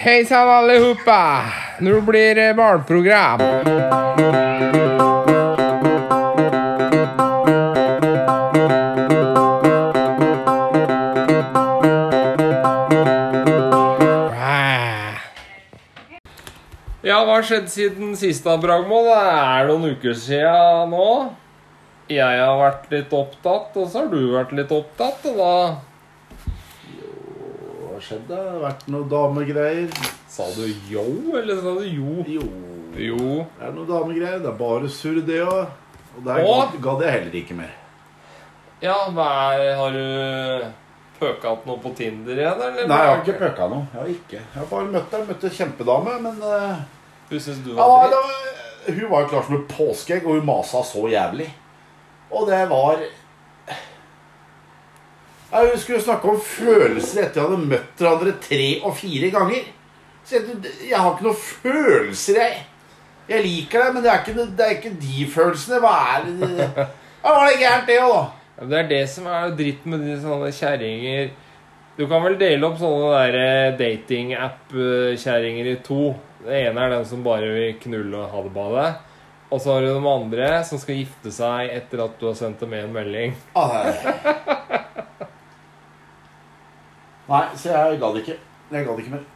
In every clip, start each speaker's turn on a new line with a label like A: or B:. A: Hei sann, allihopa! Nå blir det barneprogram. Ja, hva har skjedd siden sist, da, Bragmo? Det er noen uker siden nå. Jeg har vært litt opptatt, og så har du vært litt opptatt, og da
B: Hva skjedde? Det har vært noen damegreier.
A: Sa du yo, eller sa du jo?
B: Jo, det
A: Jo.
B: er noen damegreier. Det er bare surr, det òg. Og der ga,
A: Og?
B: gadd jeg heller ikke mer.
A: Ja, hva er, har du pøka opp noe på Tinder igjen, eller?
B: Nei, jeg har ikke pøka noe. Jeg har ikke. Jeg har bare møtt deg. Møtte en kjempedame, men eh,
A: Du synes du
B: ja,
A: var
B: Ah, det
A: dritt?
B: var, Hun var jo klar som et påskeegg, og hun masa så jævlig. Og det var ja, Hun skulle snakke om følelser etter jeg hadde møtt hverandre tre og fire ganger. Så jeg, jeg har ikke noen følelser, jeg. Jeg liker deg, men det er ikke, det er ikke de følelsene. Hva er det Ja, var det gærent, det òg, da?
A: Ja, Det er det som er dritt med de sånne kjerringer. Du kan vel dele opp sånne der eh, datingapp-kjerringer i to. Det ene er den som bare vil knulle og ha det bra deg. Og så har du de andre som skal gifte seg etter at du har sendt dem en melding.
B: Ah, Nei, Nei, så jeg gadd ikke. Jeg gadd ikke mer.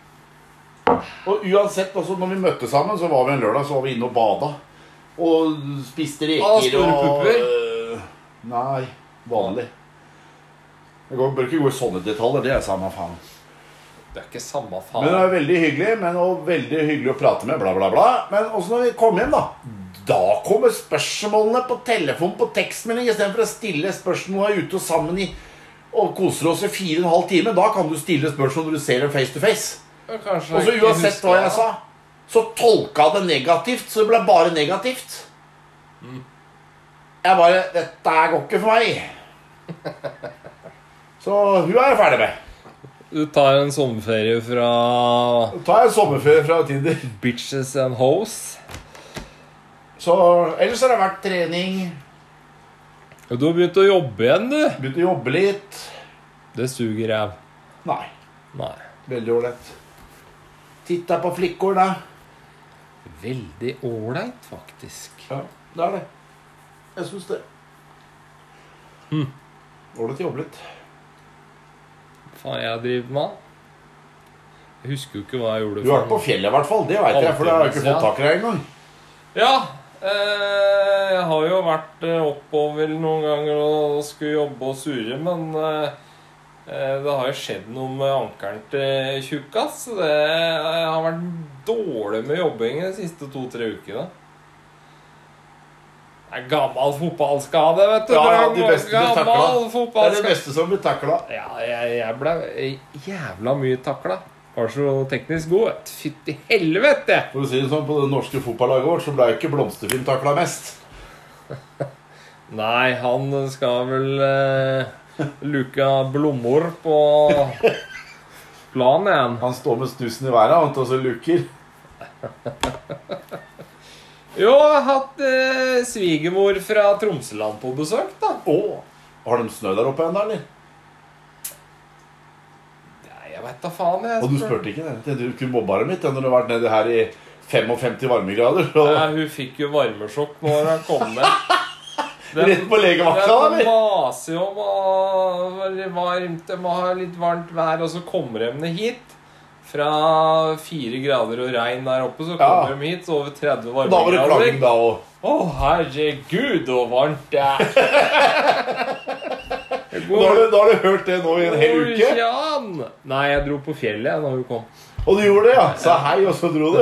B: Og uansett, altså, når vi møttes sammen, så var vi en lørdag, så var vi inne og bada. Og spiste
A: Ah,
B: reker
A: store
B: og
A: pupper?
B: øh, Nei, vanlig. Jeg går- bør ikke gå i sånne detaljer, det er samme faen.
A: Det er ikke samme
B: Men det
A: faen.
B: var veldig hyggelig, men og veldig hyggelig å prate med, bla, bla, bla. Men også når vi kom hjem, da. Da kommer spørsmålene på telefon på tekstmelding istedenfor å stille spørsmål er ute og sammen i og koser oss i fire og en halv time. Da kan du stille spørsmål når du ser dem face to face.
A: Men kanskje
B: Og så
A: jeg ikke
B: uansett
A: husker
B: hva
A: det,
B: jeg sa, så tolka det negativt, så det ble bare negativt. Jeg bare Dette her går ikke for meg. Så hun er jeg ferdig med.
A: da. Du tar en sommerferie fra
B: Da tar jeg en sommerferie fra Tinder.
A: bitches and hoes.
B: Så ellers har det vært trening,
A: Ja, Du har begynt å jobbe igjen, du.
B: begynt å jobbe litt.
A: Det suger ræv.
B: Nei,
A: Nei.
B: veldig ålreit. Titta på flikkor, da.
A: Veldig ålreit, faktisk.
B: Ja, det er det. Jeg syns det. Hm. Ålreit jobbe litt.
A: Faen, jeg driver med Jeg husker jo ikke hva jeg gjorde.
B: Du har vært på fjellet i hvert fall, det veit jeg, for det har jeg ikke fått tak i deg engang.
A: Ja. Eh, jeg har jo vært eh, oppover noen ganger og og skulle jobbe og surre, men eh, eh, det har jo skjedd noe med ankelen til tjukkas. så Det eh, jeg har vært dårlig med jobbing de siste to-tre ukene. Det er gammel fotballskade, vet du.
B: Ja, ja,
A: Frank.
B: de beste blir taklet.
A: gammel
B: Det er det
A: fotballskade.
B: beste som blir takla.
A: Ja, jeg, jeg ble jævla mye takla. Var så teknisk god. vet du. Fytti helvete!
B: For å si det sånn, på det norske fotballaget vårt så ble ikke Blomsterfinn takla mest.
A: Nei, han skal vel eh, luke blommor på planen igjen.
B: Han står med snusen i været og så luker.
A: Jo, jeg har hatt eh, svigermor fra Tromsøland på besøk, da.
B: Å! Har de snø der oppe ennå, eller?
A: Nei, jeg veit da faen, jeg.
B: Og du spurte ikke det? Du kunne mobba dem litt ja, når du har vært nede her i 55 varmegrader. Og
A: Nei, hun fikk jo varmesjokk når hun kom ned.
B: rett på legevakta, da,
A: De
B: eller?
A: maser jo om å være varmt, de må ha litt varmt vær, og så kommer de ned hit. Fra fire grader og regn der oppe, så kommer
B: Ja.
A: de hit så over 30
B: Og Da var det
A: varmegrader.
B: klaging, da òg.
A: Å, herregud, så varmt det er! Jeg
B: Da,
A: går-
B: har du- da har du hørt det nå i en hel
A: Går
B: uke.
A: ikke an. Nei, jeg dro på fjellet jeg, da hun kom.
B: Og du gjorde det, ja. Sa hei, og så dro du.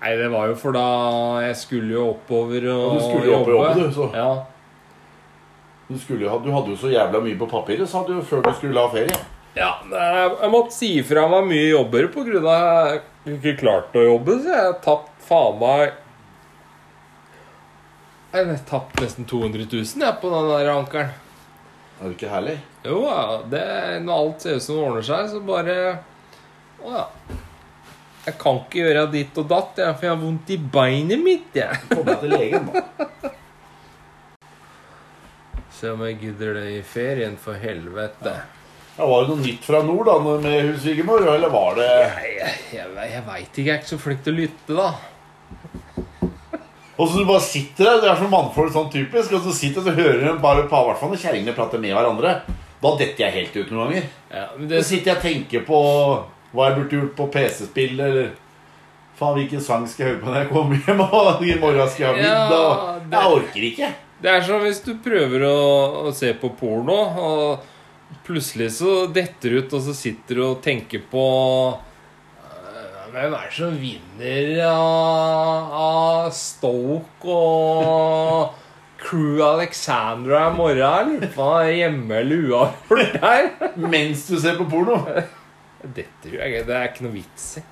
A: Nei, det var jo for da jeg skulle jo oppover og,
B: Ja, du skulle jo opp og jobbe, du, så.
A: Ja.
B: Du, skulle, jo ha- du hadde jo så jævla mye på papiret, sa du, før du skulle la ferie.
A: Ja, jeg, jeg måtte si ifra meg mye jobber på grunn av at jeg ikke klarte å jobbe, så jeg har tapt faen meg Jeg har tapt nesten 200 000 jeg, på den der ankelen.
B: Er det ikke herlig?
A: Jo, ja, det, når alt ser ut som det ordner seg, så bare Å ja. Jeg kan ikke gjøre ditt og datt, jeg, for jeg har vondt i beinet mitt. jeg.
B: Kom deg til legen, da.
A: Se om jeg gidder det i ferien, for helvete.
B: Ja, var det noe nytt fra nord da med hun svigermor, eller var det
A: Nei, Jeg, jeg, jeg veit ikke. Jeg er ikke så flink til å lytte, da.
B: Og så du bare sitter der, det er som mannfolk sånn typisk, og så sitter du og hører en bare par, i hvert fall når kjerringene prater med hverandre. Da detter jeg helt ut noen ganger.
A: Ja, men
B: Så
A: det,
B: sitter jeg og tenker på hva jeg burde gjort på PC-spill, eller faen, hvilken sang skal jeg høre på når jeg kommer hjem, og i morgen skal jeg ha middag.
A: Ja,
B: og-
A: det-
B: Jeg orker ikke.
A: det er som hvis du prøver å, å se på porno, og plutselig så detter du ut, og så sitter du og tenker på eh, Hvem er det som vinner av, av Stoke og Crew Alexandra i morgen? eller? Hva er hjemme eller uavgjort der?
B: Mens du ser på porno.
A: Dette gjør jeg ikke. Det er ikke noe vits i.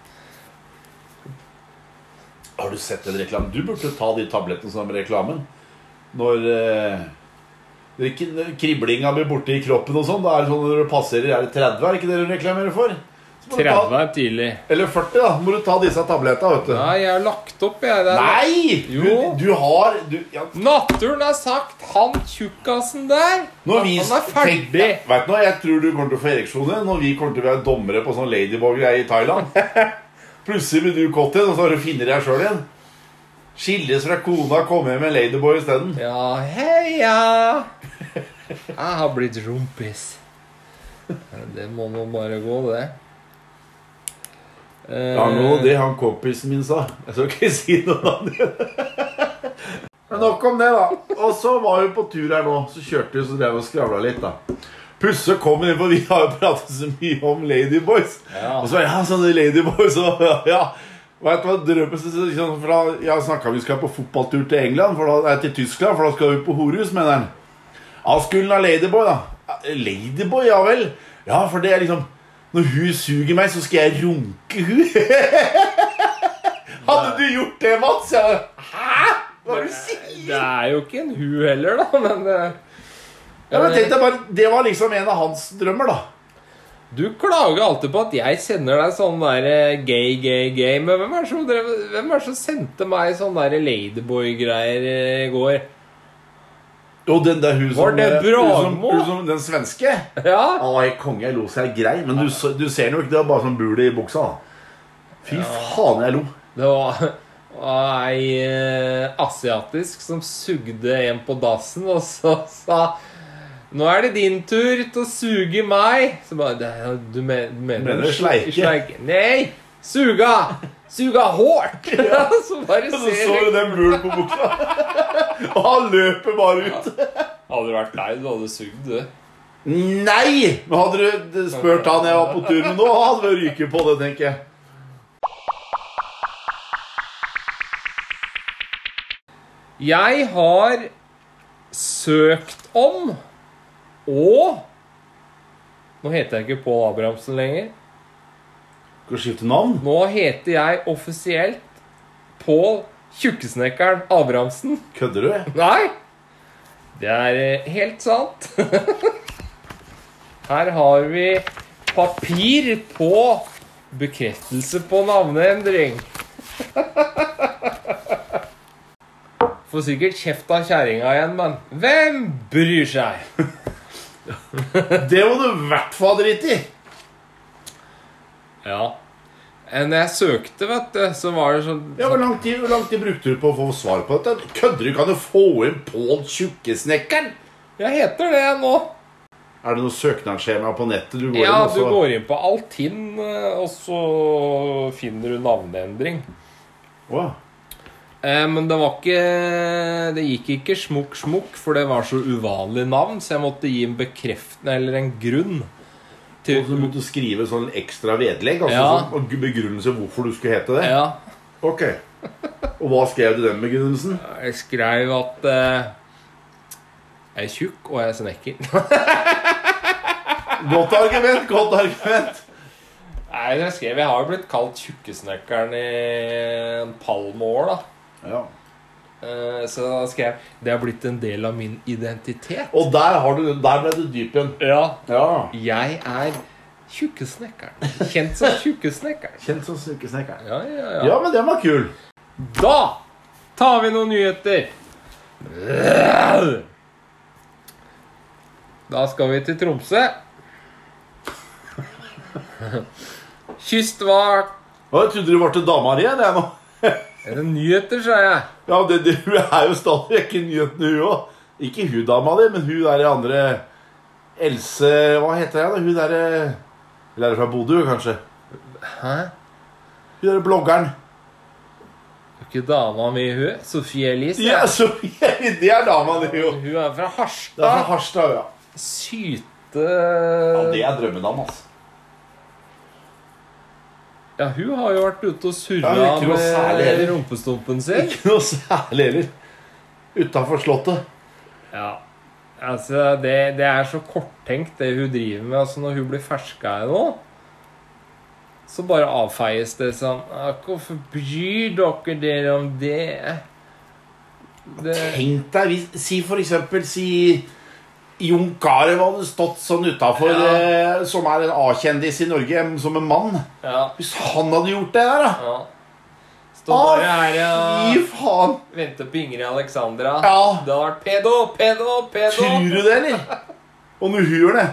B: Har du sett den reklamen? Du burde ta de tablettene som er med reklamen. Når eh, det k- når kriblinga blir borte i kroppen og sånn, da er det sånn når du passerer Er det 30, er det ikke det du reklamerer for? Så må du
A: 30
B: ta,
A: er tidlig.
B: eller 40, da. Må du ta disse tablettene, vet du.
A: Nei, jeg har lagt opp, jeg. Det er
B: Nei!
A: Jo.
B: Du, du har du, ja,
A: Naturen har sagt han tjukkasen der
B: Når vi
A: Han er ferdig.
B: Tenk- Vet du hva, jeg tror du kommer til å få ereksjoner når vi kommer til å være dommere på sånn Ladybug-greie i Thailand. Plutselig blir du kåt igjen, og så har du funnet deg sjøl igjen. Skilles fra kona, komme hjem med en Ladyboy isteden.
A: Ja, heia! Jeg har blitt rumpis. Det må nå bare gå, det. Eh,
B: Ja, nå det han kompisen min sa. Jeg skal ikke si noe annet. Men nok om det, da. Og så var vi på tur her nå. Så kjørte vi så drev vi og skravla litt, da. Plutselig kom hun inn, for vi har jo pratet så mye om Ladyboys.
A: Eh, Ja.
B: Og så var jeg, ja, sånne Ladyboys og ja. Vet du hva drømmen så, så, sånn, for da, Jeg snakka om vi skal på fotballtur til England, for da, nei, til Tyskland, for da skal vi på horhus, mener han. Ja, skulle hun ha Ladyboy, da? Ja, Ladyboy, ja vel? Ja, for det er liksom Når hun suger meg, så skal jeg runke hun. Hadde du gjort det, Mats? Jeg bare, Hæ? Hva er det du sier?
A: Det er jo ikke en hu heller, da, men eh,
B: Ja, men tenkte jeg bare, Det var liksom en av hans drømmer, da.
A: Du klager alltid på at jeg sender deg sånn der eh, gay, gay, gay. Men hvem er det som, drev, hvem er det som sendte meg sånn der Ladyboy-greier eh, i går?
B: Og den der hun som,
A: Var det
B: hun som,
A: Bragmo?
B: hun som Den svenske?
A: Ja,
B: Å, jeg konge, jeg lo så jeg grei. Men du, så- du ser den jo ikke, det var bare sånn bul i buksa. da. Fy faen, jeg lo.
A: det var var ei eh, asiatisk som sugde en på dassen, og så sa nå er det din tur til å suge meg. Så bare "Det- Du men, mener,
B: Mener sleike?
A: Nei! Suga! Suga hardt! så bare
B: Og så
A: ser
B: så du den bulen på buksa. Og han løper bare ut.
A: Hadde du vært lei, du hadde sugd, du.
B: Nei! Men hadde du spurt han jeg var på tur med nå, hadde vi ryket på det, tenker jeg.
A: Jeg har søkt om og Nå heter jeg ikke Pål Abrahamsen lenger.
B: Skal du skifte navn?
A: Nå heter jeg offisielt Pål Tjukkesnekkeren Abrahamsen.
B: Kødder du?
A: Nei! Det er eh, helt sant. Her har vi papir på bekreftelse på navneendring. Får sikkert kjeft av kjerringa igjen, men hvem bryr seg?
B: Det må du i hvert fall drite i.
A: Ja. Eh, Når jeg søkte, vet du, så var det sånn
B: Ja, Hvor lang tid, hvor lang tid brukte du på å få svar på dette? Kødder du? Kan du få inn Pål Tjukkesnekkeren?
A: Jeg heter det nå.
B: Er det noe søknadsskjema på nettet du går
A: Ja,
B: inn altså. og
A: du
B: så-
A: går inn på Altinn, eh, og så finner du navneendring.
B: Å, ja.
A: Eh, Men det var ikke Det gikk ikke smukk smukk, for det var så uvanlig navn, så jeg måtte gi en bekreftende eller en grunn.
B: Og så
A: Til,
B: måtte du skrive sånn ekstra vedlegg altså,
A: Ja.
B: sånn, og begrunnelse hvorfor du skulle hete det.
A: ja,
B: Ok. Og hva skrev du i den begrunnelsen?
A: jeg skrev at eh, jeg er tjukk, og jeg er snekker.
B: Godt argument! godt argument
A: Nei, jeg skrev Jeg har jo blitt kalt tjukkesnekkeren i en palmeår, da.
B: ja.
A: Eh, Så da skrev jeg Det har blitt en del av min identitet.
B: Og der, har du, der ble du dyp igjen.
A: Ja,
B: Ja.
A: jeg er tjukkesnekkeren. Kjent som tjukkesnekkeren.
B: Kjent som sykesnekkeren.
A: Ja, ja, ja.
B: Ja, men den var kul.
A: Da tar vi noen nyheter. Da skal vi til Tromsø. Kystvakt.
B: Og jeg trodde du var til dama di igjen, jeg nå.
A: Er det nyheter, sa jeg.
B: Ja, men det, det, hun er jo stadig vekk i nyhetene, hun òg. Ikke hun dama di, men hun der andre Else Hva heter jeg, da? Hun derre Eller er det fra Bodø, kanskje?
A: Hæ?
B: Hun derre bloggeren.
A: Er ikke dama mi hun? Sofie Elise?
B: Ja, så, det er dama di, jo.
A: Hun er fra
B: Det er fra
A: Harstad.
B: Harstad, ja.
A: Syte
B: ja. Det er drømmedama, altså.
A: Ja, hun har jo vært ute og surra
B: Ja, ikke noe særlig
A: med
B: heller.
A: rumpestumpen sin.
B: Ikke noe særlig heller. Utafor Slottet.
A: Ja. Altså, det, det er så korttenkt, det hun driver med. Altså, når hun blir ferska i noe, så bare avfeies det sånn «Ah, Hvorfor bryr dere dere om det? det
B: Tenk deg hvis Si for eksempel si Jon Carew hadde stått sånn utafor,
A: Ja.
B: eh, som er en A-kjendis i Norge, som en mann.
A: ja,
B: Hvis han hadde gjort det der, da!
A: ja. Står bare her
B: Å,
A: og
B: Fy faen!
A: venter på Ingrid Alexandra.
B: Ja.
A: Det har vært pedo, pedo, pedo.
B: Tror du det, eller? Og når hun gjør det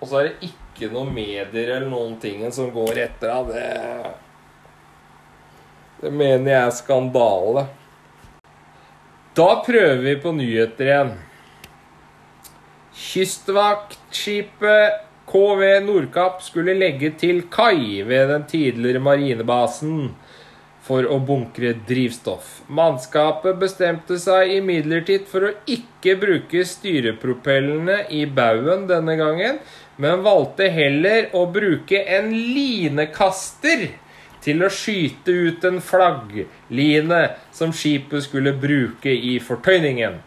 A: Og så er det ikke noen medier eller noen ting som går etter av det. Det mener jeg er skandale. Da prøver vi på nyheter igjen. Kystvaktskipet KV Nordkapp skulle legge til kai ved den tidligere marinebasen for å bunkre drivstoff. Mannskapet bestemte seg imidlertid for å ikke bruke styrepropellene i baugen denne gangen, men valgte heller å bruke en linekaster til å skyte ut en flaggline som skipet skulle bruke i fortøyningen.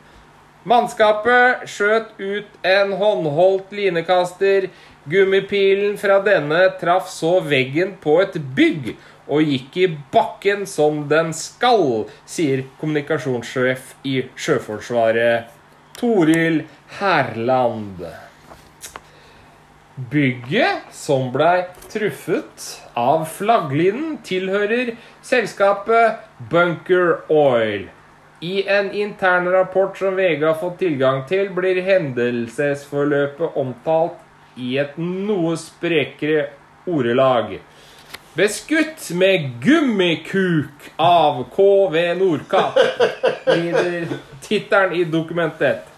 A: Mannskapet skjøt ut en håndholdt linekaster. Gummipilen fra denne traff så veggen på et bygg og gikk i bakken som den skal, sier kommunikasjonssjef i Sjøforsvaret, Toril Herland. Bygget som blei truffet av flagglinen, tilhører selskapet Bunker Oil. I en intern rapport som VG har fått tilgang til, blir hendelsesforløpet omtalt i et noe sprekere ordelag. Beskutt med gummikuk av KV Nordkapp, lyder tittelen i Dokument 1.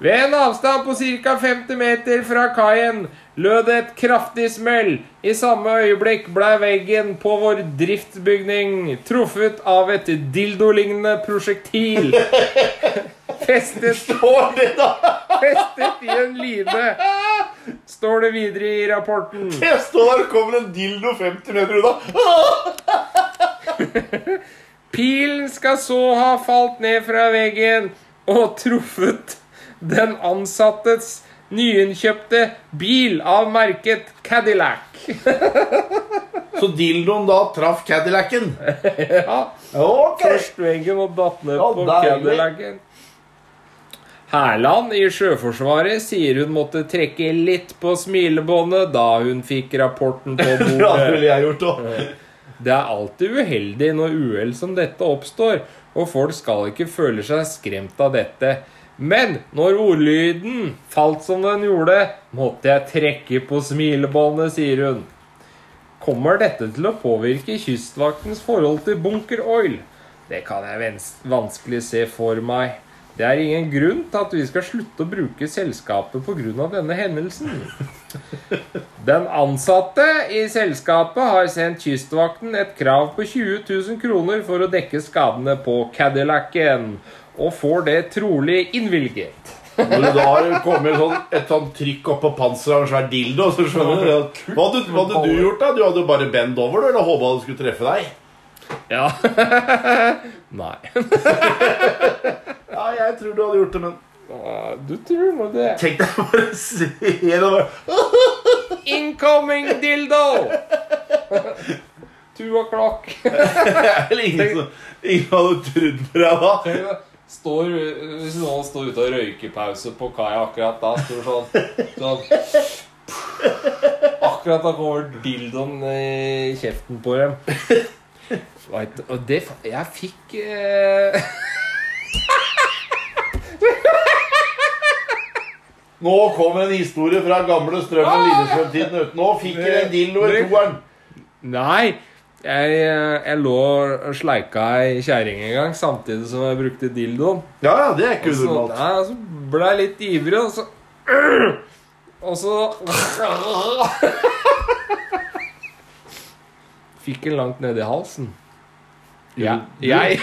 A: Ved en avstand på ca. 50 meter fra kaien lød det et kraftig smell. I samme øyeblikk ble veggen på vår driftsbygning truffet av et dildolignende prosjektil. Festet
B: Står det, da!
A: festet i en line, står det videre i rapporten.
B: Jeg står der og kommer en dildo 50 meter unna.
A: Pilen skal så ha falt ned fra veggen og truffet den ansattes nyinnkjøpte bil av merket Cadillac.
B: Så dildoen da traff Cadillacen.
A: Ja,
B: Ok.
A: først veggen og datt ned
B: Ja,
A: på
B: deilig.
A: Cadillacen. Hærland i Sjøforsvaret sier hun måtte trekke litt på smilebåndet da hun fikk rapporten på
B: Ja, det
A: bordet.
B: ville jeg gjort òg.
A: Det er alltid uheldig når uhell som dette oppstår, og folk skal ikke føle seg skremt av dette. Men når ordlyden falt som den gjorde, måtte jeg trekke på smilebåndet, sier hun. Kommer dette til å påvirke Kystvaktens forhold til Bunker Oil? Det kan jeg vens- vanskelig se for meg. Det er ingen grunn til at vi skal slutte å bruke selskapet pga. denne hendelsen. Den ansatte i selskapet har sendt Kystvakten et krav på 20 000 kroner for å dekke skadene på Cadillacen, og får det trolig innvilget.
B: Når det da kommer sånn, et sånn trykk opp på panseret av en svær dildo, så skjønner du at Hva hadde, hva hadde du gjort, da? Du hadde jo bare bend over, du, eller håpa du skulle treffe deg.
A: Ja. Nei.
B: Ja, jeg tror du hadde gjort det, men
A: Du tror nå det.
B: Tenk deg bare se det bare.
A: Incoming dildo! Two o'clock.
B: Eller ingen, som- ingen hadde trodd på deg da.
A: Står, hvis noen står ute og røykepause på kaia akkurat da, står det sånn, sånn Akkurat da kommer dildoen i kjeften på dem. Vet, du, og det fa- Jeg fikk eh,
B: Nå kom en historie fra gamle Strømmen Lillestrøm-tiden. vet du. Nå fikk jeg en dildo i toeren.
A: Nei, jeg, eh, jeg lå og sleika ei kjerring en gang samtidig som jeg brukte dildoen.
B: Ja, ja, Altså, det er ikke
A: Så,
B: unormalt.
A: nei, så ble jeg litt ivrig, og så Og så Fikk den langt ned i halsen. Ja, jeg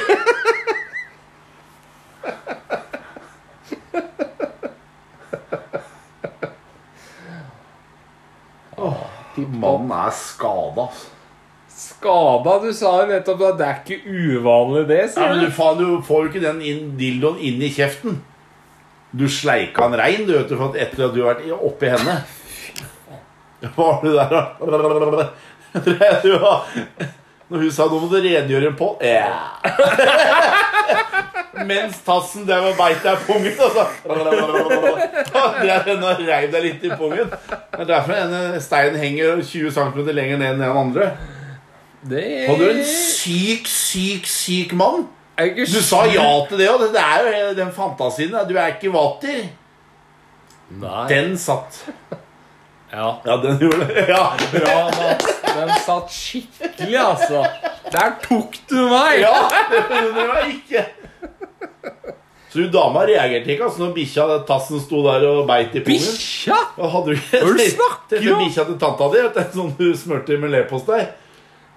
B: Mannen er altså. skada.
A: Skada, du sa jo nettopp at det er ikke uvanlig, det,
B: Ja,
A: sier
B: men
A: du.
B: du, faen, du får jo ikke den inn, dildoen inn i kjeften. Du sleika den rein du, vet du, for at etter at du har vært i- oppi henne. Var du der og Du var- Når hun sa nå må du rengjøre en på ja. Mens tassen der var beit deg i pungen. altså. Og så drev den og reiv deg litt i pungen. Det er derfor denne steinen henger 20 cm lenger ned enn den andre.
A: Det
B: Var du en
A: er
B: syk, syk, syk mann?
A: ikke
B: Du sa ja til det, og det er jo den fantasien. da. Du er ikke vater.
A: Nei.
B: Den satt.
A: Ja.
B: Ja, den gjorde det. Ja,
A: Bra, Mats. Den satt skikkelig, altså. Der tok du meg!
B: ja. men det var ikke Så hun dama reagerte ikke altså, når bikkja tassen sto der og beit i pungen?
A: Bikkja!
B: Da Hadde du ikke
A: Hva er det du snakker
B: Dette
A: om?
B: bikkja til tanta di, vet du, som sånn du smurte med leverpostei?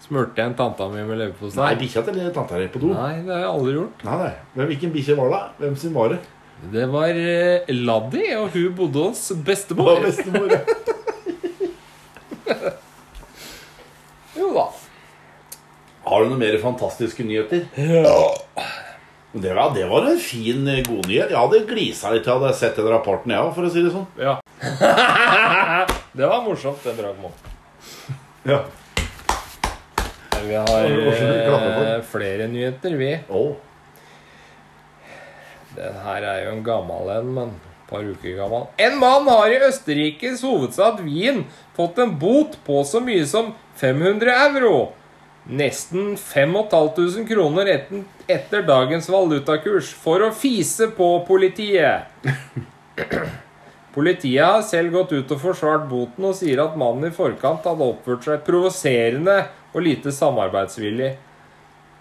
A: Smurte jeg en tanta mi med leverpostei?
B: Nei, bikkja til tanta di på do. Nei,
A: Nei, det har jeg aldri gjort.
B: nei. Hvem, hvilken bikkje var det? Hvem sin var det?
A: Det var eh, Laddi, og hun bodde hos
B: Det var
A: bestemor.
B: bestemor. ja.
A: Jo da.
B: Har du noen mer fantastiske nyheter? Det var, det var en fin eh, god nyhet. Jeg hadde glisa litt til jeg hadde sett den rapporten, jeg òg, for å si det sånn.
A: Ja. det var morsomt, det Dragmo.
B: Ja.
A: Vi har
B: Det var morsomt, vi klapper for.
A: eh, flere nyheter, vi.
B: Oh.
A: Den her er jo en gammel en, men et par uker gammel. En mann har i Østerrikes hovedstad Wien fått en bot på så mye som 500 euro. Nesten 5500 kroner etten- etter dagens valutakurs for å fise på politiet. Politiet har selv gått ut og forsvart boten og sier at mannen i forkant hadde oppført seg provoserende og lite samarbeidsvillig.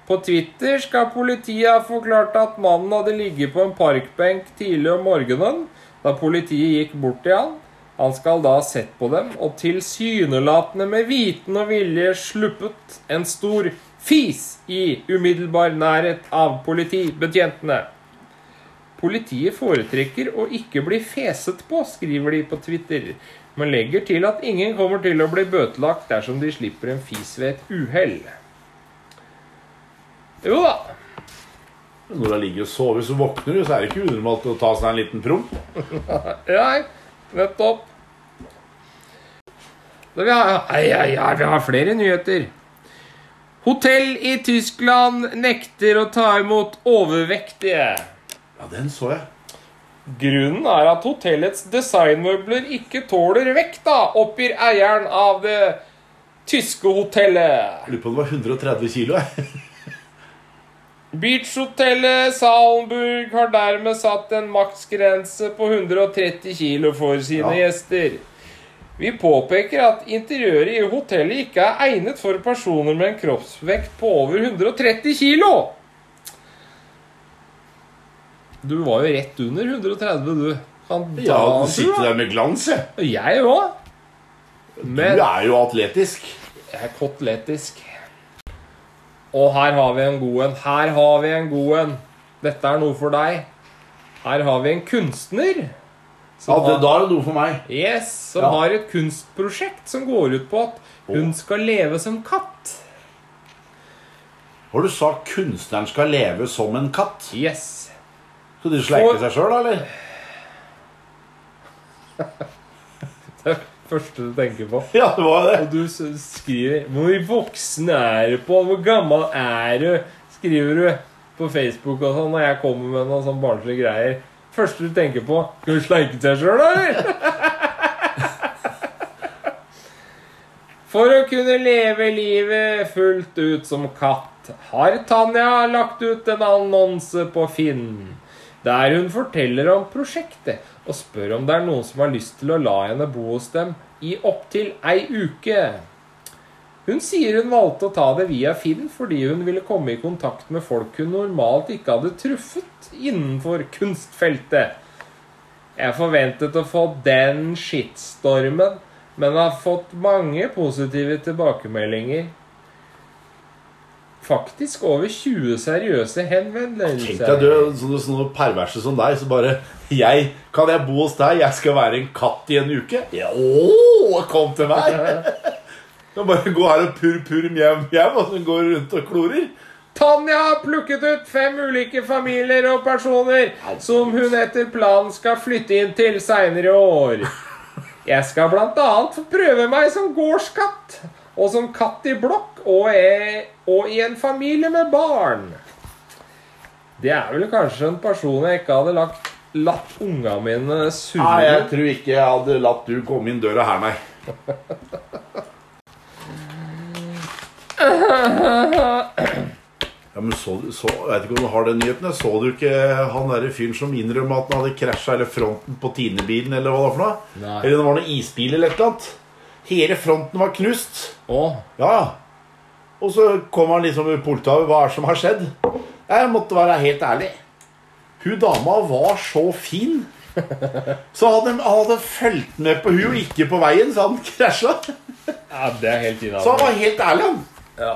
A: På Twitter skal politiet ha forklart at mannen hadde ligget på en parkbenk tidlig om morgenen da politiet gikk bort til han. Han skal da ha sett på dem og tilsynelatende med viten og vilje sluppet en stor fis i umiddelbar nærhet av politibetjentene. Politiet foretrekker å ikke bli feset på, skriver de på Twitter, men legger til at ingen kommer til å bli bøtelagt dersom de slipper en fis ved et uhell. Jo da.
B: Når du ligger og sover, så våkner du, så er det ikke unormalt å ta seg en liten promp.
A: Nei, nettopp. Da vi har, ai, ai, ai, vi har flere nyheter. Hotell i Tyskland nekter å ta imot overvektige.
B: Ja, den så jeg.
A: Grunnen er at hotellets designmøbler ikke tåler vekta, oppgir eieren av det tyske hotellet.
B: Jeg lurer på om det var 130 kilo. jeg.
A: Beachhotellet Salmburg har dermed satt en maksgrense på 130 kilo for sine
B: Ja.
A: gjester. Vi påpeker at interiøret i hotellet ikke er egnet for personer med en kroppsvekt på over 130 kilo. Du var jo rett under 130, du. Kan
B: Ja,
A: ta-
B: den sitter der med glans, jeg.
A: Jeg òg.
B: Du
A: Men
B: er jo atletisk.
A: jeg er koteletisk. Og her har vi en god en. Her har vi en god en. Dette er noe for deg. Her har vi en kunstner.
B: Ja,
A: Som
B: det,
A: har,
B: da er det noe for meg.
A: yes, som
B: Ja.
A: har et kunstprosjekt som går ut på at hun skal leve som katt.
B: Har du sagt kunstneren skal leve som en katt?
A: Yes.
B: Skal de sleike seg sjøl, eller?
A: Det er det første du tenker på.
B: Ja, det var det.
A: Og du s- skriver 'Hvor voksen er du på? Hvor gammel er du?' skriver du på Facebook og sånn, og jeg kommer med noen sånn barnslige greier. Første du tenker på 'Skal du sleike deg sjøl, eller?' For å kunne leve livet fullt ut som katt har Tanja lagt ut en annonse på Finn. der hun forteller om prosjektet og spør om det er noen som har lyst til å la henne bo hos dem i opptil ei uke. Hun sier hun valgte å ta det via Finn fordi hun ville komme i kontakt med folk hun normalt ikke hadde truffet innenfor kunstfeltet. Jeg forventet å få den shitstormen, men har fått mange positive tilbakemeldinger. Faktisk over 20 seriøse henvendelser.
B: Tenk deg, du, sånne, sånne perverse som deg, så bare jeg, Kan jeg bo hos deg? Jeg skal være en katt i en uke? Ja, ååå, kom til meg! Kan bare gå her og purr, purr, mjau, mjau, og så går du rundt og klorer.
A: Tanja har plukket ut fem ulike familier og personer som hun etter planen skal flytte inn til seinere år. Jeg skal blant annet få prøve meg som gårdskatt, og som katt i blokk, og, e- og i en familie med barn. Det er vel kanskje en person jeg ikke hadde lagt, latt unga mine
B: Nei,
A: surre
B: jeg tror ikke jeg hadde latt du komme inn døra her, nei. Ja, men så, så, jeg vet ikke om du har den nyheten. jeg. Så du ikke han derre fyren som innrømma at han hadde krasja hele fronten på Tine-bilen, eller hva det var for noe?
A: Nei.
B: Eller det var noen isbil eller et eller annet. Hele fronten var knust.
A: Åh,
B: Ja. Og så kom han liksom i politiet over hva er det som har skjedd. Jeg måtte være helt ærlig. Hun dama var så fin. Så hadde han hadde fulgt med på hun og ikke på veien, så han krasja.
A: ja, det er helt
B: Så han
A: innafor.
B: var helt ærlig, han.
A: Ja.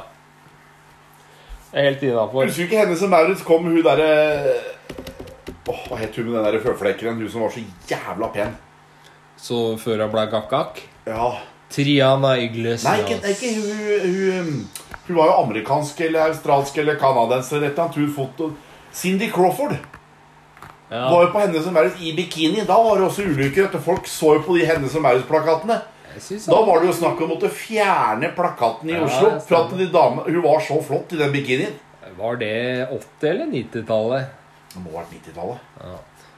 A: Det er helt innafor.
B: Husker du ikke henne som Maurits kom hun derre Åh, Hva het hun med den der føflekkeren? Hun som var så jævla pen.
A: Så før han ble gakkak
B: Ja.
A: Triana Iglesias.
B: Nei, ikke, ikke hun, hun um, Hun var jo amerikansk eller australsk eller canadenser eller et eller annet. Hun foto... Cindy Crawford
A: Ja.
B: var jo på Henne som Maurits i bikini. Da var det også ulykker. Vet du. Folk så jo på de Henne som Maurits-plakatene.
A: Jeg synes
B: Da
A: han-
B: var det jo snakk om å måtte fjerne plakaten i
A: Ja,
B: Oslo.
A: det
B: For at de damene, Hun var så flott i den bikinien.
A: Var det 80- eller 90-tallet?
B: Det må ha vært 90-tallet.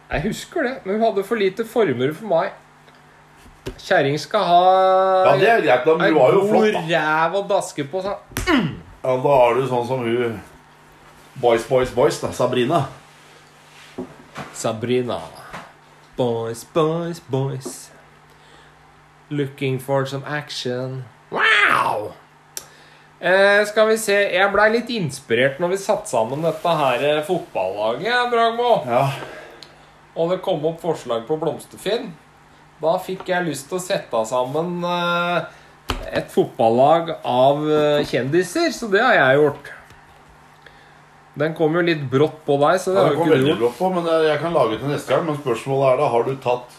A: Jeg husker det, men hun hadde for lite former for meg. Kjerring skal ha
B: Ja, det er greit, da, men hun var jo flott, da.
A: ræv å daske på. sa han.
B: Ja, da er du sånn som hun Boys, boys, boys, da. Sabrina.
A: Sabrina. Boys, boys, boys. Looking for some action. Wow! Eh, skal vi se Jeg blei litt inspirert når vi satte sammen dette her eh, fotballaget, Bragmo.
B: Ja.
A: og det kom opp forslag på Blomsterfinn, da fikk jeg lyst til å sette sammen eh, et fotballag av eh, kjendiser, så det har jeg gjort. Den kom jo litt brått på deg, så det
B: Ja,
A: har jo
B: det kom
A: ikke du
B: veldig
A: gjort.
B: brått på, men eh, jeg jeg kan lage til neste gang. Men spørsmålet er da, har du tatt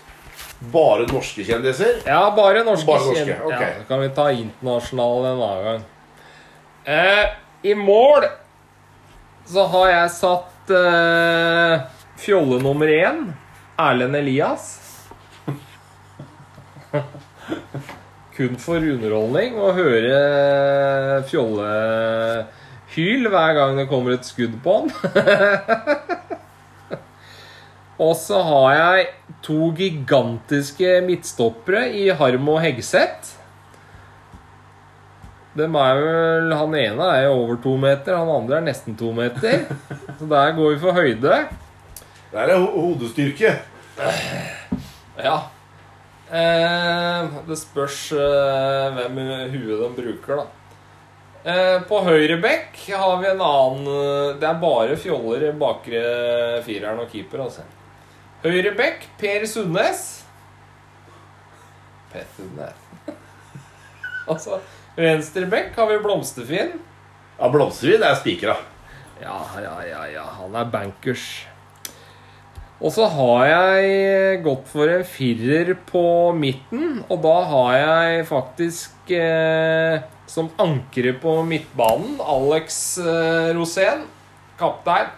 B: bare norske kjendiser?
A: Ja, bare norske.
B: Bare norske,
A: kjen-
B: ok.
A: Ja, da kan vi ta internasjonale en annen gang. Eh, I mål så har jeg satt eh, fjolle nummer én, Erlend Elias. Kun for underholdning å høre fjollehyl hver gang det kommer et skudd på han. Og så har jeg to gigantiske midtstoppere i Harm og Hegseth. Dem er vel, Han ene er jo over to meter, han andre er nesten to meter. Så der går vi for høyde.
B: Det er ho- hodestyrke.
A: Ja. Eh, det spørs eh, hvem i huet de bruker, da. Eh, på høyre bekk har vi en annen eh, Det er bare fjoller i bakre fireren og keeper, altså. Høyre bekk, Per Sundnes. Per Sundnes. altså, venstre bekk har vi Blomsterfinn.
B: Ja, Blomstervid er spikra.
A: Ja, ja, ja, ja. Han er bankers. Og så har jeg gått for en firer på midten, og da har jeg faktisk eh, som ankere på midtbanen Alex eh, Rosén, kaptein.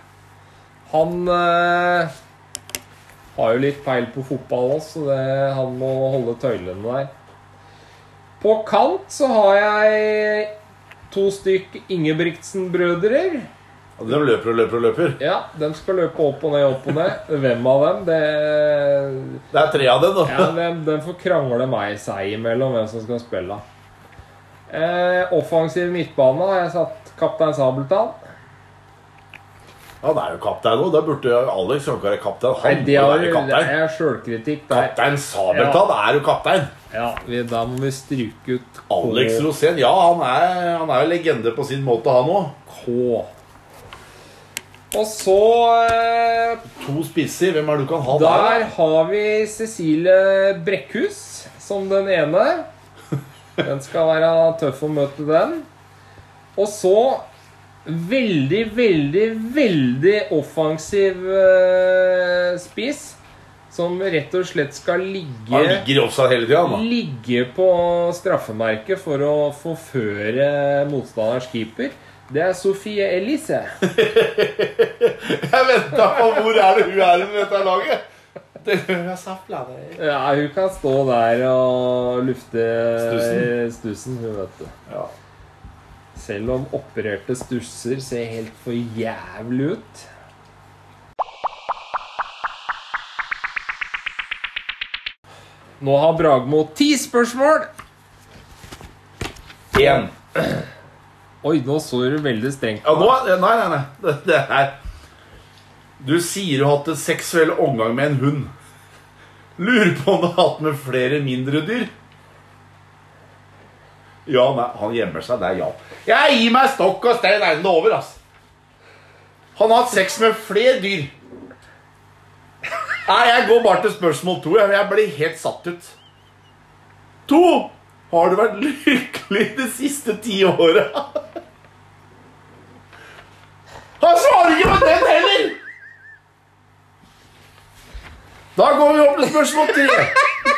A: Han eh, har jo litt peil på fotball også, så det, han må holde tøylene der. På kant så har jeg to stykk Ingebrigtsen-brødre.
B: De løper og løper og løper.
A: Ja, de skal løpe opp og ned, opp og ned. Hvem av dem? Det
B: Det er tre av dem, da.
A: ja, den, den får krangle meg seg imellom hvem som skal spille. Eh, offensiv midtbane har jeg satt kaptein Sabeltann.
B: Han er jo kaptein nå. Da burde jo Alex kan ikke være kaptein.
C: Nei, det,
B: Han burde
C: har,
B: være
C: det
B: kaptein.
C: er sjølkritikk der.
B: Kaptein Sabeltann er jo kaptein.
C: Ja, vi, da må vi stryke ut K.
B: Alex Rosén, ja, han er, han er jo legende på sin måte, han òg.
C: K.
A: Og så eh,
B: To spisser, hvem er det du kan ha
A: Der har vi Cecilie Brekkhus som den ene. Den skal være tøff å møte, den. Og så veldig, veldig, veldig offensiv eh, spiss. Som rett og slett skal
B: Han
A: ligge,
B: ligger i offside hele tida, han. da.
A: ligge på straffemerket for å forføre motstanderens keeper. Det er Sofie Elise.
B: Jeg venta på hvor er det hun er med dette laget. Det gjør jeg sapla, det.
A: Ja, hun kan stå der og lufte
B: Stussen?
A: stussen hun vet du.
B: Ja.
A: Selv om opererte stusser ser helt for jævlig ut. Nå har Bragmo ti spørsmål.
B: Én.
A: Oi, nå så du veldig strengt
B: Ja, nå, nei, nei, nei. Det, det er Du sier du har hatt en seksuell omgang med en hund. Lurer på om du har hatt med flere mindre dyr? Ja, nei, han gjemmer seg. Det er ja. Jeg gir meg stokk og stein øynene over, ass. Han har hatt sex med flere dyr. Nei, jeg går bare til spørsmål to. Jeg, jeg blir helt satt ut. To! Har du vært lykkelig de siste ti åra? Han svarer ikke på den heller! Da går vi opp til spørsmål tre.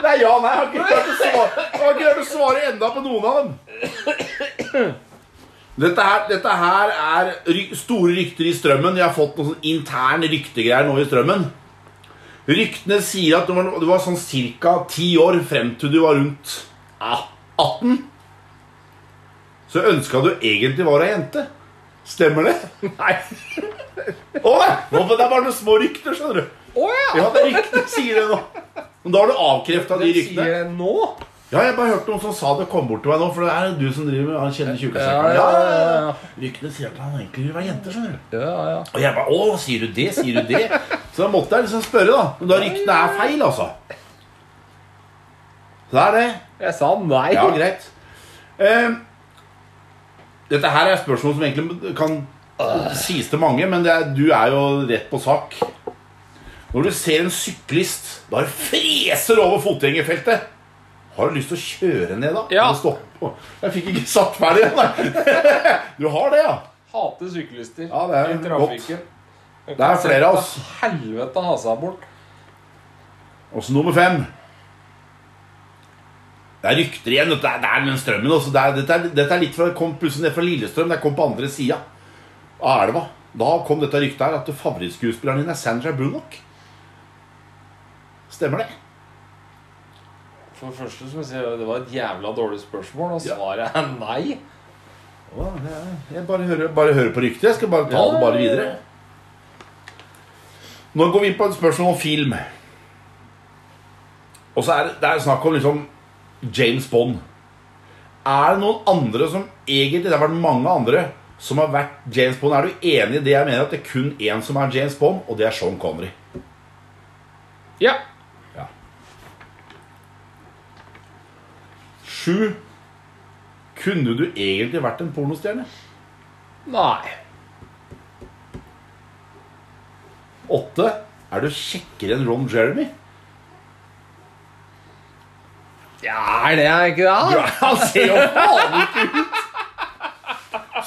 B: Nei, ja, nei, jeg har ikke klart å svare, jeg har ikke klart å svare enda på noen av dem. Dette her, dette her er ry- store rykter i strømmen. Jeg har fått noen sånn intern ryktegreier nå i strømmen. Ryktene sier at du var, du var sånn ca. ti år frem til du var rundt ja, 18. Så ønska du egentlig var ei jente. Stemmer det?
A: Nei.
B: Å nei! Nå, men det er bare noen små rykter, skjønner du.
A: Å ja!
B: Ja, det er rykter, sier det nå. Men da har du avkrefta de
A: Den
B: ryktene.
A: sier det nå.
B: Ja, jeg bare hørte noen som sa det kom bort til meg nå, for det er du som driver med Han kjenner
A: Ja,
B: tjukkasekken.
A: ja, ja, ja.
B: Ryktene sier at han egentlig vil være jente, skjønner du.
A: Ja, ja.
B: Og jeg bare Å, sier du det? Sier du det? Så da måtte jeg liksom spørre, da. Men da ryktene er feil, altså. Så det er det.
A: Jeg sa nei.
B: Ja, greit. Eh, dette her er spørsmål som egentlig kan sies til mange, men det er, du er jo rett på sak. Når du ser en syklist bare freser over fotgjengerfeltet, har du lyst til å kjøre ned da?
A: Ja.
B: Eller stoppe? Jeg fikk ikke satt ferdig den, nei. Du har det, ja?
A: Hater syklister
B: Ja, det er
A: i trafikken.
B: Det er flere av oss.
A: Helvete ha seg bort.
B: Og så nummer fem. Det er rykter igjen. Dette er, det er den strømmen. Også. Det er, dette, er, dette er litt fra, kom plutselig ned fra Lillestrøm. Det kom på andre sida av elva. Da kom dette ryktet her at favorittskuespilleren din er Sandra Bullock. Stemmer det?
A: For det første som jeg sier, det var et jævla dårlig spørsmål, og
B: Ja.
A: svaret er nei.
B: Å, det er- Jeg bare hører, bare hører på ryktet. Jeg skal bare ta det bare videre. Nå går vi inn på et spørsmål om film. Og så er det, det er snakk om liksom James Bond. Er det noen andre som egentlig Det har vært mange andre som har vært James Bond. Er du enig i det jeg mener, at det er kun én som er James Bond, og det er Sean Connery?
A: Ja.
B: Sju. Kunne du egentlig vært en pornostjerne?
A: Nei.
B: Åtte. Er du kjekkere enn Ron Jeremy?
A: Ja, er det jeg ikke det?
B: Han ser jo faen ikke ut!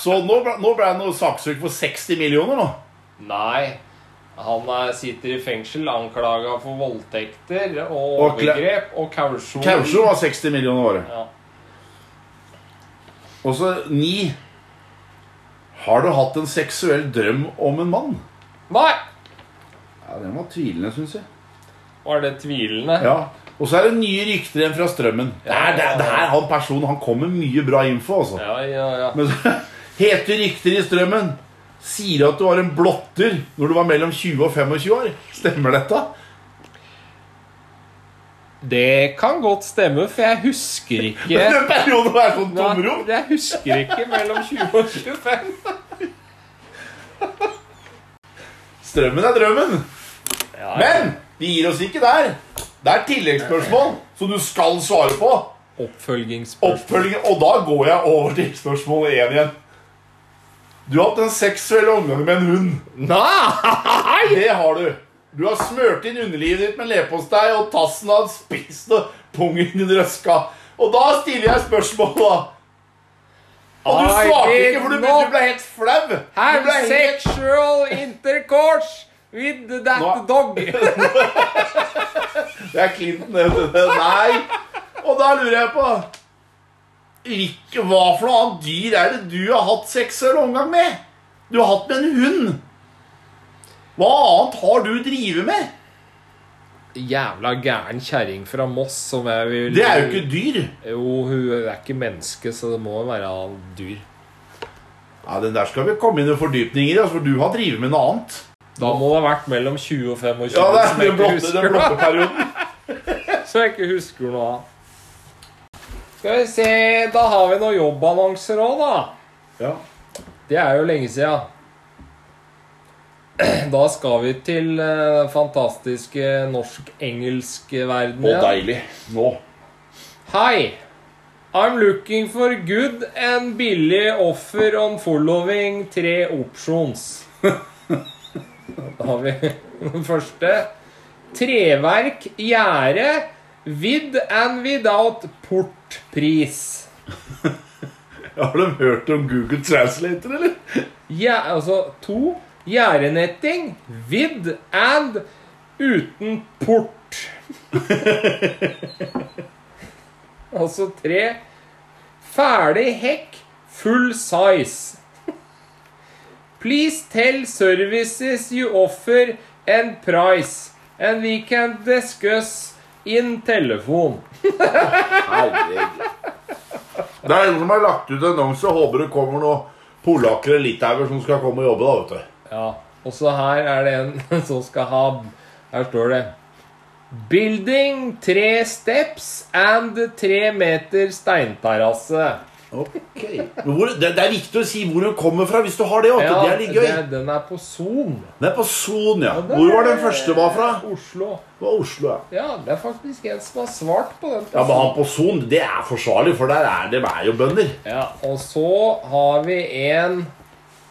B: Så nå ble, nå ble jeg noe saksøkt for 60 millioner nå.
A: Nei. Han er, sitter i fengsel anklaga for voldtekter og
B: Og kle-
A: overgrep og kausjon.
B: Kausjo var 60 millioner året.
A: Ja.
B: Og så ni. Har du hatt en seksuell drøm om en mann?
A: Nei!
B: Ja, Den var tvilende, syns jeg.
A: Var det tvilende?
B: Ja. Og så er det nye rykter igjen fra strømmen. Det er, det er, det er han personen. Han kommer med mye bra info, altså.
A: ja, ja. ja.
B: Men så Hete rykter i strømmen sier at du var en blotter når du var mellom 20 og 25 år. Stemmer dette?
A: Det kan godt stemme, for jeg husker ikke
B: Den perioden er sånn tomrom.
A: Nei, Jeg husker ikke mellom 20 og 25.
B: Strømmen er drømmen.
D: Ja,
B: Men vi gir oss ikke der. Det er tilleggsspørsmål som du skal svare på.
D: Oppfølgingsspørsmål.
B: Oppfølging, Og da går jeg over til spørsmål én igjen. Du har hatt en seksuell omgang med en hund.
A: Nei!
B: Det har du. Du har smurt inn underlivet ditt med leverpostei, og tassen har spist og pungen din røska. Og da stiller jeg spørsmål, da. Og du
A: I
B: svarte
A: did
B: ikke, for du ble,
A: not
B: du ble helt flau. Du
A: Have
B: ble helt
A: sexual intercourse with that
B: Nå-
A: dog.
B: Det er Clinton, det. det- Nei. Og da lurer jeg på hvilke, Hva for noe annet dyr er det du har hatt seksuell omgang med? Du har hatt med en hund. Hva annet har du drevet med?
A: Jævla gæren kjerring fra Moss som jeg vil
B: Det er jo ikke dyr.
A: Jo, hun er ikke menneske, så det må være dyr.
B: Ja, Den der skal vi komme inn i fordypninger i, altså, for du har drevet med noe annet.
A: Da må det ha vært mellom 20 og 25,
B: Ja, det er
A: som jeg
B: den
A: ikke
B: blotte, den
A: husker
B: blotte perioden.
A: Så jeg ikke husker noe av. Skal vi se Da har vi noen jobbannonser òg, da.
B: Ja.
A: Det er jo lenge sia. Da skal vi til eh, den fantastiske norsk-engelske verden.
B: Og
A: igjen.
B: deilig. Nå.
A: Hi. I'm looking for good and billig offer on following tre options. Da har vi den første. Treverk, gjerde, with and without portpris.
B: Har de hørt om Google Translator, eller?
A: Ja, altså to. Gjerdenetting, with and uten port. altså tre. Ferdig hekk, full size. Please tell services you offer and price, and we can discuss in telefon.
B: Herregud. Det er noen som har lagt ut annonse og håper det kommer noen polakker eller litauer som skal komme og jobbe. da, vet du.
A: Ja, og så her er det en som skal ha Her står det Building tre steps and tre meter steinterrasse.
B: Men hvor, det, det er viktig å si hvor hun kommer fra hvis du har det. vet du. det er litt gøy.
A: det- den er på Son.
B: Den er på Son, ja.
A: Og der-
B: Hvor var den første var fra?
A: Oslo.
B: Det var Oslo, ja.
A: Ja, det er faktisk en som har svart på den.
B: Ja, Men han på Son, det er forsvarlig, for der er det er jo bønder.
A: Ja, og så har vi en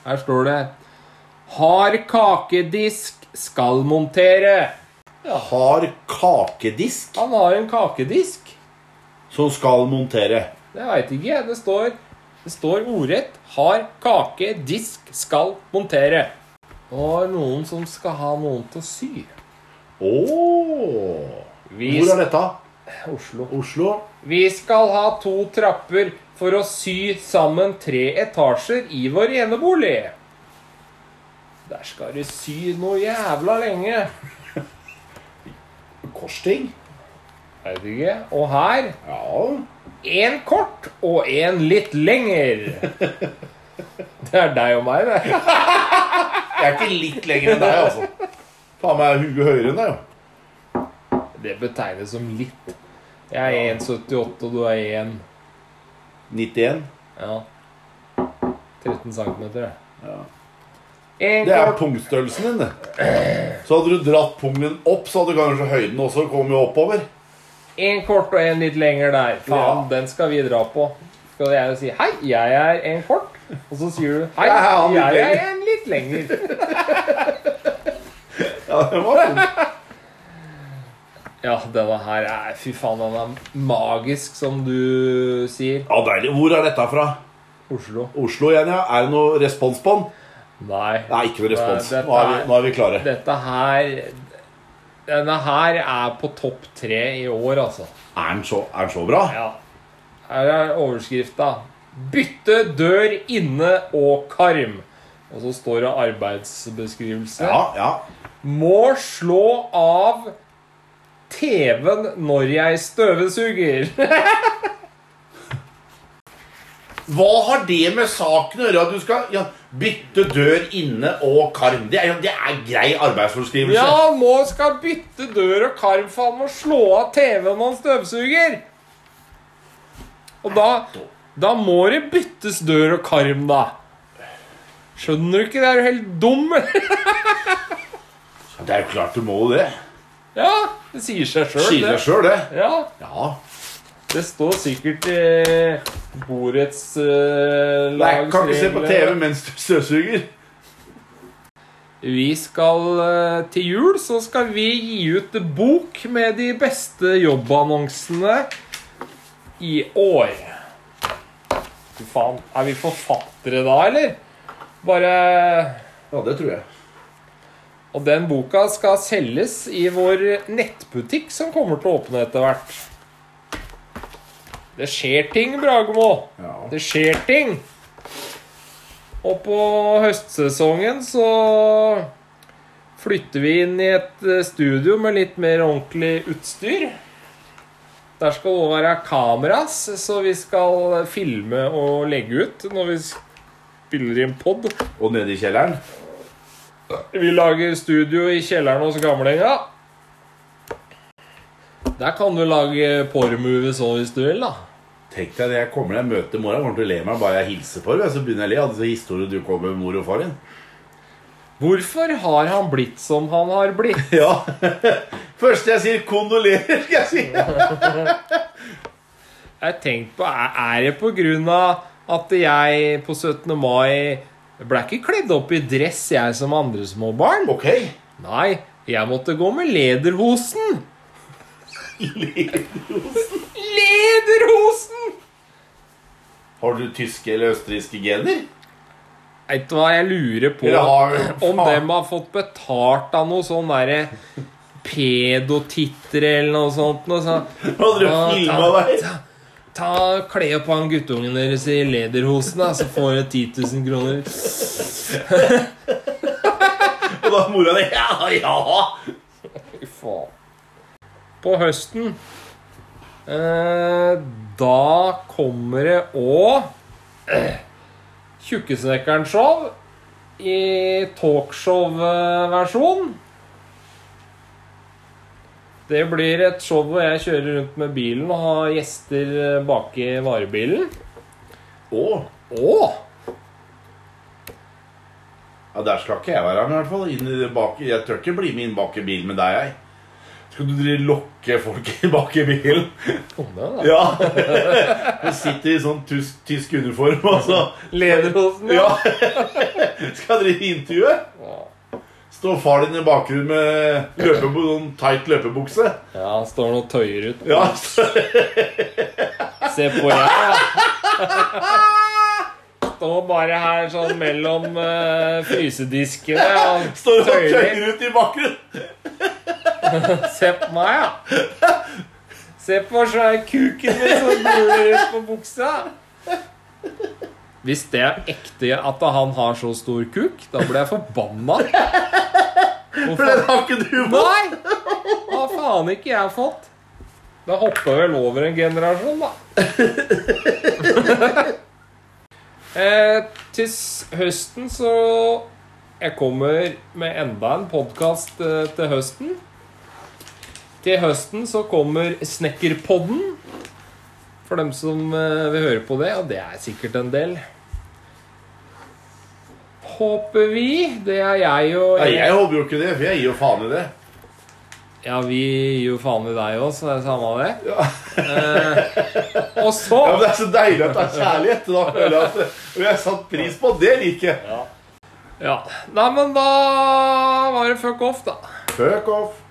A: Her står det Har kakedisk skal montere.
B: Har kakedisk
A: Han har en kakedisk.
B: som skal montere.
A: Jeg veit ikke. Det står, det står ordrett 'har kake, disk, skal montere'. Og noen som skal ha noen til å sy.
B: Åh
A: Vi,
B: Hvor er dette?
A: Oslo.
B: Oslo?
A: Vi skal ha to trapper for å sy sammen tre etasjer i vår enebolig. Der skal du sy noe jævla lenge.
B: Korsting?
A: Jeg vet ikke. Og her
B: Ja.
A: én kort og én litt lenger. Det er deg og meg, det.
B: Jeg er ikke litt lenger enn deg, altså. Faen meg er huet høyere enn deg, jo.
A: Det betegnes som litt. Jeg er 1,78, og du er 1
B: 91.
A: Ja. 13 centimeter, det.
B: Ja.
A: En
B: Det er
A: kort-
B: pungstørrelsen din, det. Så hadde du dratt pungen din opp, så hadde kanskje høyden også kommet oppover.
A: en kort og en litt lenger der. Faen, den skal vi dra på. Skal jeg si 'hei, jeg er en kort', og så sier du 'hei,
B: Jeg er han litt
A: jeg er en litt
B: lenger».
A: lenger'.
B: Ja, det var det.
A: Ja, denne her er Fy faen, den er magisk, som du sier.
B: Ja, deilig. Hvor er dette fra?
A: Oslo.
B: Oslo igjen, ja. Er det noe respons på den?
A: Nei.
B: Nei, ikke noe respons.
A: Nei, dette
B: Nå er vi, nå er vi klare.
A: Dette her Denne her er på topp tre i år, altså.
B: Er den så, er den så bra?
A: Ja. Her er overskrifta. 'Bytte dør inne og karm'. Og så står det arbeidsbeskrivelse.
B: Ja, ja.
A: Må slå av TV-en når jeg støvsuger.
B: Hva har det med saken å gjøre? At du skal ja, bytte dør inne og karm? Det er, jo- det er grei arbeidsforskrivelse.
A: ja, han må skal bytte dør og karm, for han må slå av TV-en når han støvsuger. Og da Da må det byttes dør og karm, da. Skjønner du ikke? Det er jo helt dum.
B: Det er jo klart du må jo det.
A: Ja, det sier seg sjøl,
B: Sier
A: det.
B: deg sjøl, det.
A: Ja,
B: Ja.
A: det står sikkert eh, i
B: Nei, kan ikke se på TV
A: borettslagsregler
B: mens du støvsuger.
A: Vi skal eh, til jul, så skal vi gi ut bok med de beste jobbannonsene i år. Fy faen. Er vi forfattere da, eller? Bare
B: Ja, det tror jeg.
A: Og den boka skal selges i vår nettbutikk som kommer til å åpne etter hvert. Det skjer ting, Bragemo.
B: Ja.
A: Det skjer ting. Og på høstsesongen så flytter vi inn i et eh, studio med litt mer ordentlig utstyr. Der skal det også være kameras, så vi skal filme og legge ut når vi spiller inn pod.
B: Og nede i kjelleren.
A: Vi lager studio i kjelleren hos gamlinga. Der kan du lage pormovies òg, hvis du vil. da.
B: Tenk deg det, jeg kommer deg møte mora, kommer til å le meg bare jeg hilser på henne. Så begynner jeg å le av disse historiene du kom med mor og far din.
A: Hvorfor har han blitt som han har blitt?
B: Ja. Første jeg sier 'kondolerer', skal jeg si.
A: Jeg tenkte på, Er er det på grunn av at jeg på 17. mai jeg ble ikke kledd opp i dress, jeg som andre små barn?
B: Ok.
A: Nei, jeg måtte gå med lederhosen. Lederhosen!
B: Har du tyske eller østerrikske gener?
A: Vet du hva jeg lurer på?
B: Eller har
A: Om
B: faen.
A: dem har fått betalt av noe sånn derre pedotittere eller noe sånt. Noe sånt.
B: Hadde du
A: Ja,
B: filma deg?
A: ta, ta, Kle opp han guttungen deres i lederhosen, da, så får du 10 000 kroner.
B: Og da mora di Ja, ja!
A: Fy faen. På høsten eh, Da kommer det eh, òg Tjukkesnekkeren-show i talkshow-versjon. Det blir et show hvor jeg kjører rundt med bilen og har gjester eh, bak i varebilen.
B: Å.
A: Og
B: Ja, Der skal ikke jeg være med, i hvert fall. Inn i det bak, jeg tør ikke bli med inn bak i bilen med deg, jeg. Skal du drive lokke folk inn bak i bilen?
A: kone, da.
B: Ja. Du sitter i sånn tysk, tysk uniform, altså.
A: Lederhosen,
B: Ja. Skal dere intervjue?
A: Ja.
B: Står far din i bakgrunnen med løpebu sånn tight løpebukse?
A: ja, han står nå og tøyer ut.
B: Ja.
A: Se på jeg, da. Står bare her sånn mellom eh, frysediskene og
B: Står og
A: tøyer.
B: tøyer ut i bakgrunnen.
A: Se på meg, ja. Se på svære kuken min som buler ut på buksa. Hvis det er ekte at han har så stor kuk, da blir jeg forbanna.
B: For den har ikke du på.
A: Nei! Hva faen ikke jeg fått? Da hopper vel over en generasjon, da. eh, til s- høsten så Jeg kommer med enda en podkast eh, til høsten. Til høsten så kommer Snekkerpodden. For dem som eh, vil høre på det, og det er sikkert en del. Håper vi. Det er jeg og
B: Nei, jeg håper jo ikke det, for jeg gir jo faen i det.
A: ja, vi gir jo faen i deg òg, så det er samme av det.
B: Ja.
A: Eh, og så
B: Ja, men Det er så deilig at det er kjærlighet. Da føler jeg at Og jeg satt pris på det liket.
A: ja. Nei, men da var det fuck off, da.
B: Fuck off.